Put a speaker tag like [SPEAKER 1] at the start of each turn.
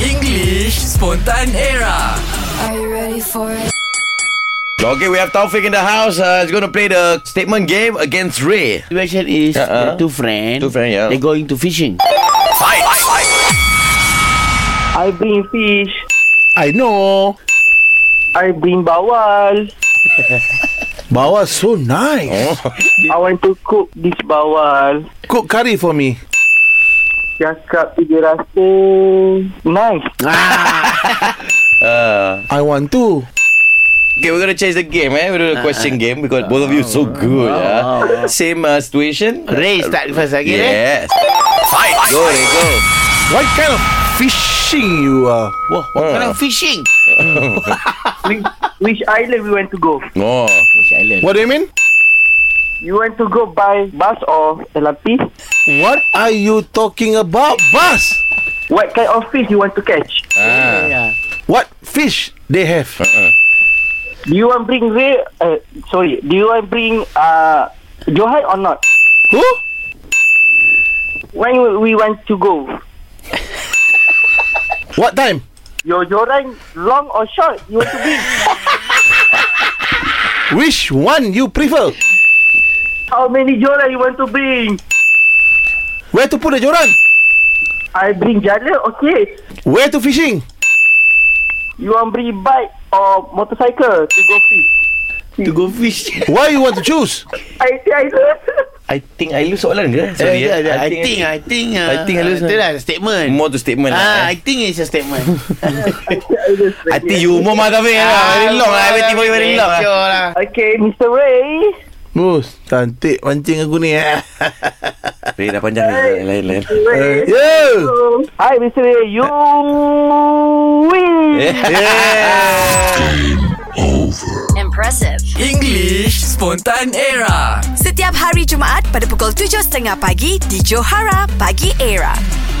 [SPEAKER 1] English Spontan Era
[SPEAKER 2] Are you ready for it?
[SPEAKER 3] Okay, we have Taufik in the house. Uh, he's going to play the statement game against Ray.
[SPEAKER 4] Situation is
[SPEAKER 3] Uh-uh.
[SPEAKER 4] uh two friends.
[SPEAKER 3] Two friend, yeah.
[SPEAKER 4] They're going to fishing.
[SPEAKER 5] I bring fish.
[SPEAKER 6] I know.
[SPEAKER 5] I bring bawal.
[SPEAKER 6] Bawal so nice.
[SPEAKER 5] I want to cook this bawal.
[SPEAKER 6] Oh. Cook curry for me.
[SPEAKER 5] Cakap dia rasa nice.
[SPEAKER 6] I want to.
[SPEAKER 3] Uh, Okay, we're going to change the game, eh? We're going to
[SPEAKER 4] Uh,
[SPEAKER 3] question game because both of you so good. yeah. Same uh, situation.
[SPEAKER 4] Ray start first eh? again.
[SPEAKER 3] Yes. Fight. Go, Ray, go.
[SPEAKER 6] What kind of fishing you are?
[SPEAKER 4] Whoa, what kind of fishing?
[SPEAKER 5] Which, which island we want to go?
[SPEAKER 3] No.
[SPEAKER 6] What do you mean?
[SPEAKER 5] You want to go by bus or LRT?
[SPEAKER 6] What are you talking about? Bus.
[SPEAKER 5] What kind of fish you want to catch?
[SPEAKER 3] Ah.
[SPEAKER 4] Yeah.
[SPEAKER 6] What fish they have?
[SPEAKER 5] Do you want bring Ray? Uh, sorry. Do you want bring uh, Johan or not?
[SPEAKER 6] Who?
[SPEAKER 5] When will we want to go?
[SPEAKER 6] What time?
[SPEAKER 5] Your Joran long or short? You want to bring?
[SPEAKER 6] Which one you prefer?
[SPEAKER 5] How many Joran you want to bring?
[SPEAKER 6] Where to put the joran?
[SPEAKER 5] I bring jala, okay.
[SPEAKER 6] Where to fishing?
[SPEAKER 5] You want bring bike or motorcycle to go fish?
[SPEAKER 4] To go fish.
[SPEAKER 6] Why you want to choose?
[SPEAKER 5] I think I learn.
[SPEAKER 3] I think I lose soalan ke? Sorry,
[SPEAKER 4] Sorry,
[SPEAKER 3] eh?
[SPEAKER 4] I, think, I think, uh,
[SPEAKER 3] I think I lose, eh?
[SPEAKER 4] Itu lah statement.
[SPEAKER 3] More to statement lah.
[SPEAKER 4] Ah,
[SPEAKER 3] eh.
[SPEAKER 4] I think it's a statement.
[SPEAKER 3] I think you umur mah Taufik lah. eh?
[SPEAKER 4] Ah,
[SPEAKER 3] Very long lah. Waiting for you very long eh? lah.
[SPEAKER 4] Sure lah.
[SPEAKER 5] Okay, Mr. Ray.
[SPEAKER 6] Mus, cantik mancing aku ni. Eh.
[SPEAKER 3] Ray dah panjang. ni. Lain, lain.
[SPEAKER 6] Uh, yeah.
[SPEAKER 5] Hi, Mr. Ray. You
[SPEAKER 3] Eh.
[SPEAKER 5] win.
[SPEAKER 2] Impressive.
[SPEAKER 1] English Spontan Era
[SPEAKER 2] Setiap hari Jumaat pada pukul 7.30 pagi di Johara Pagi Era.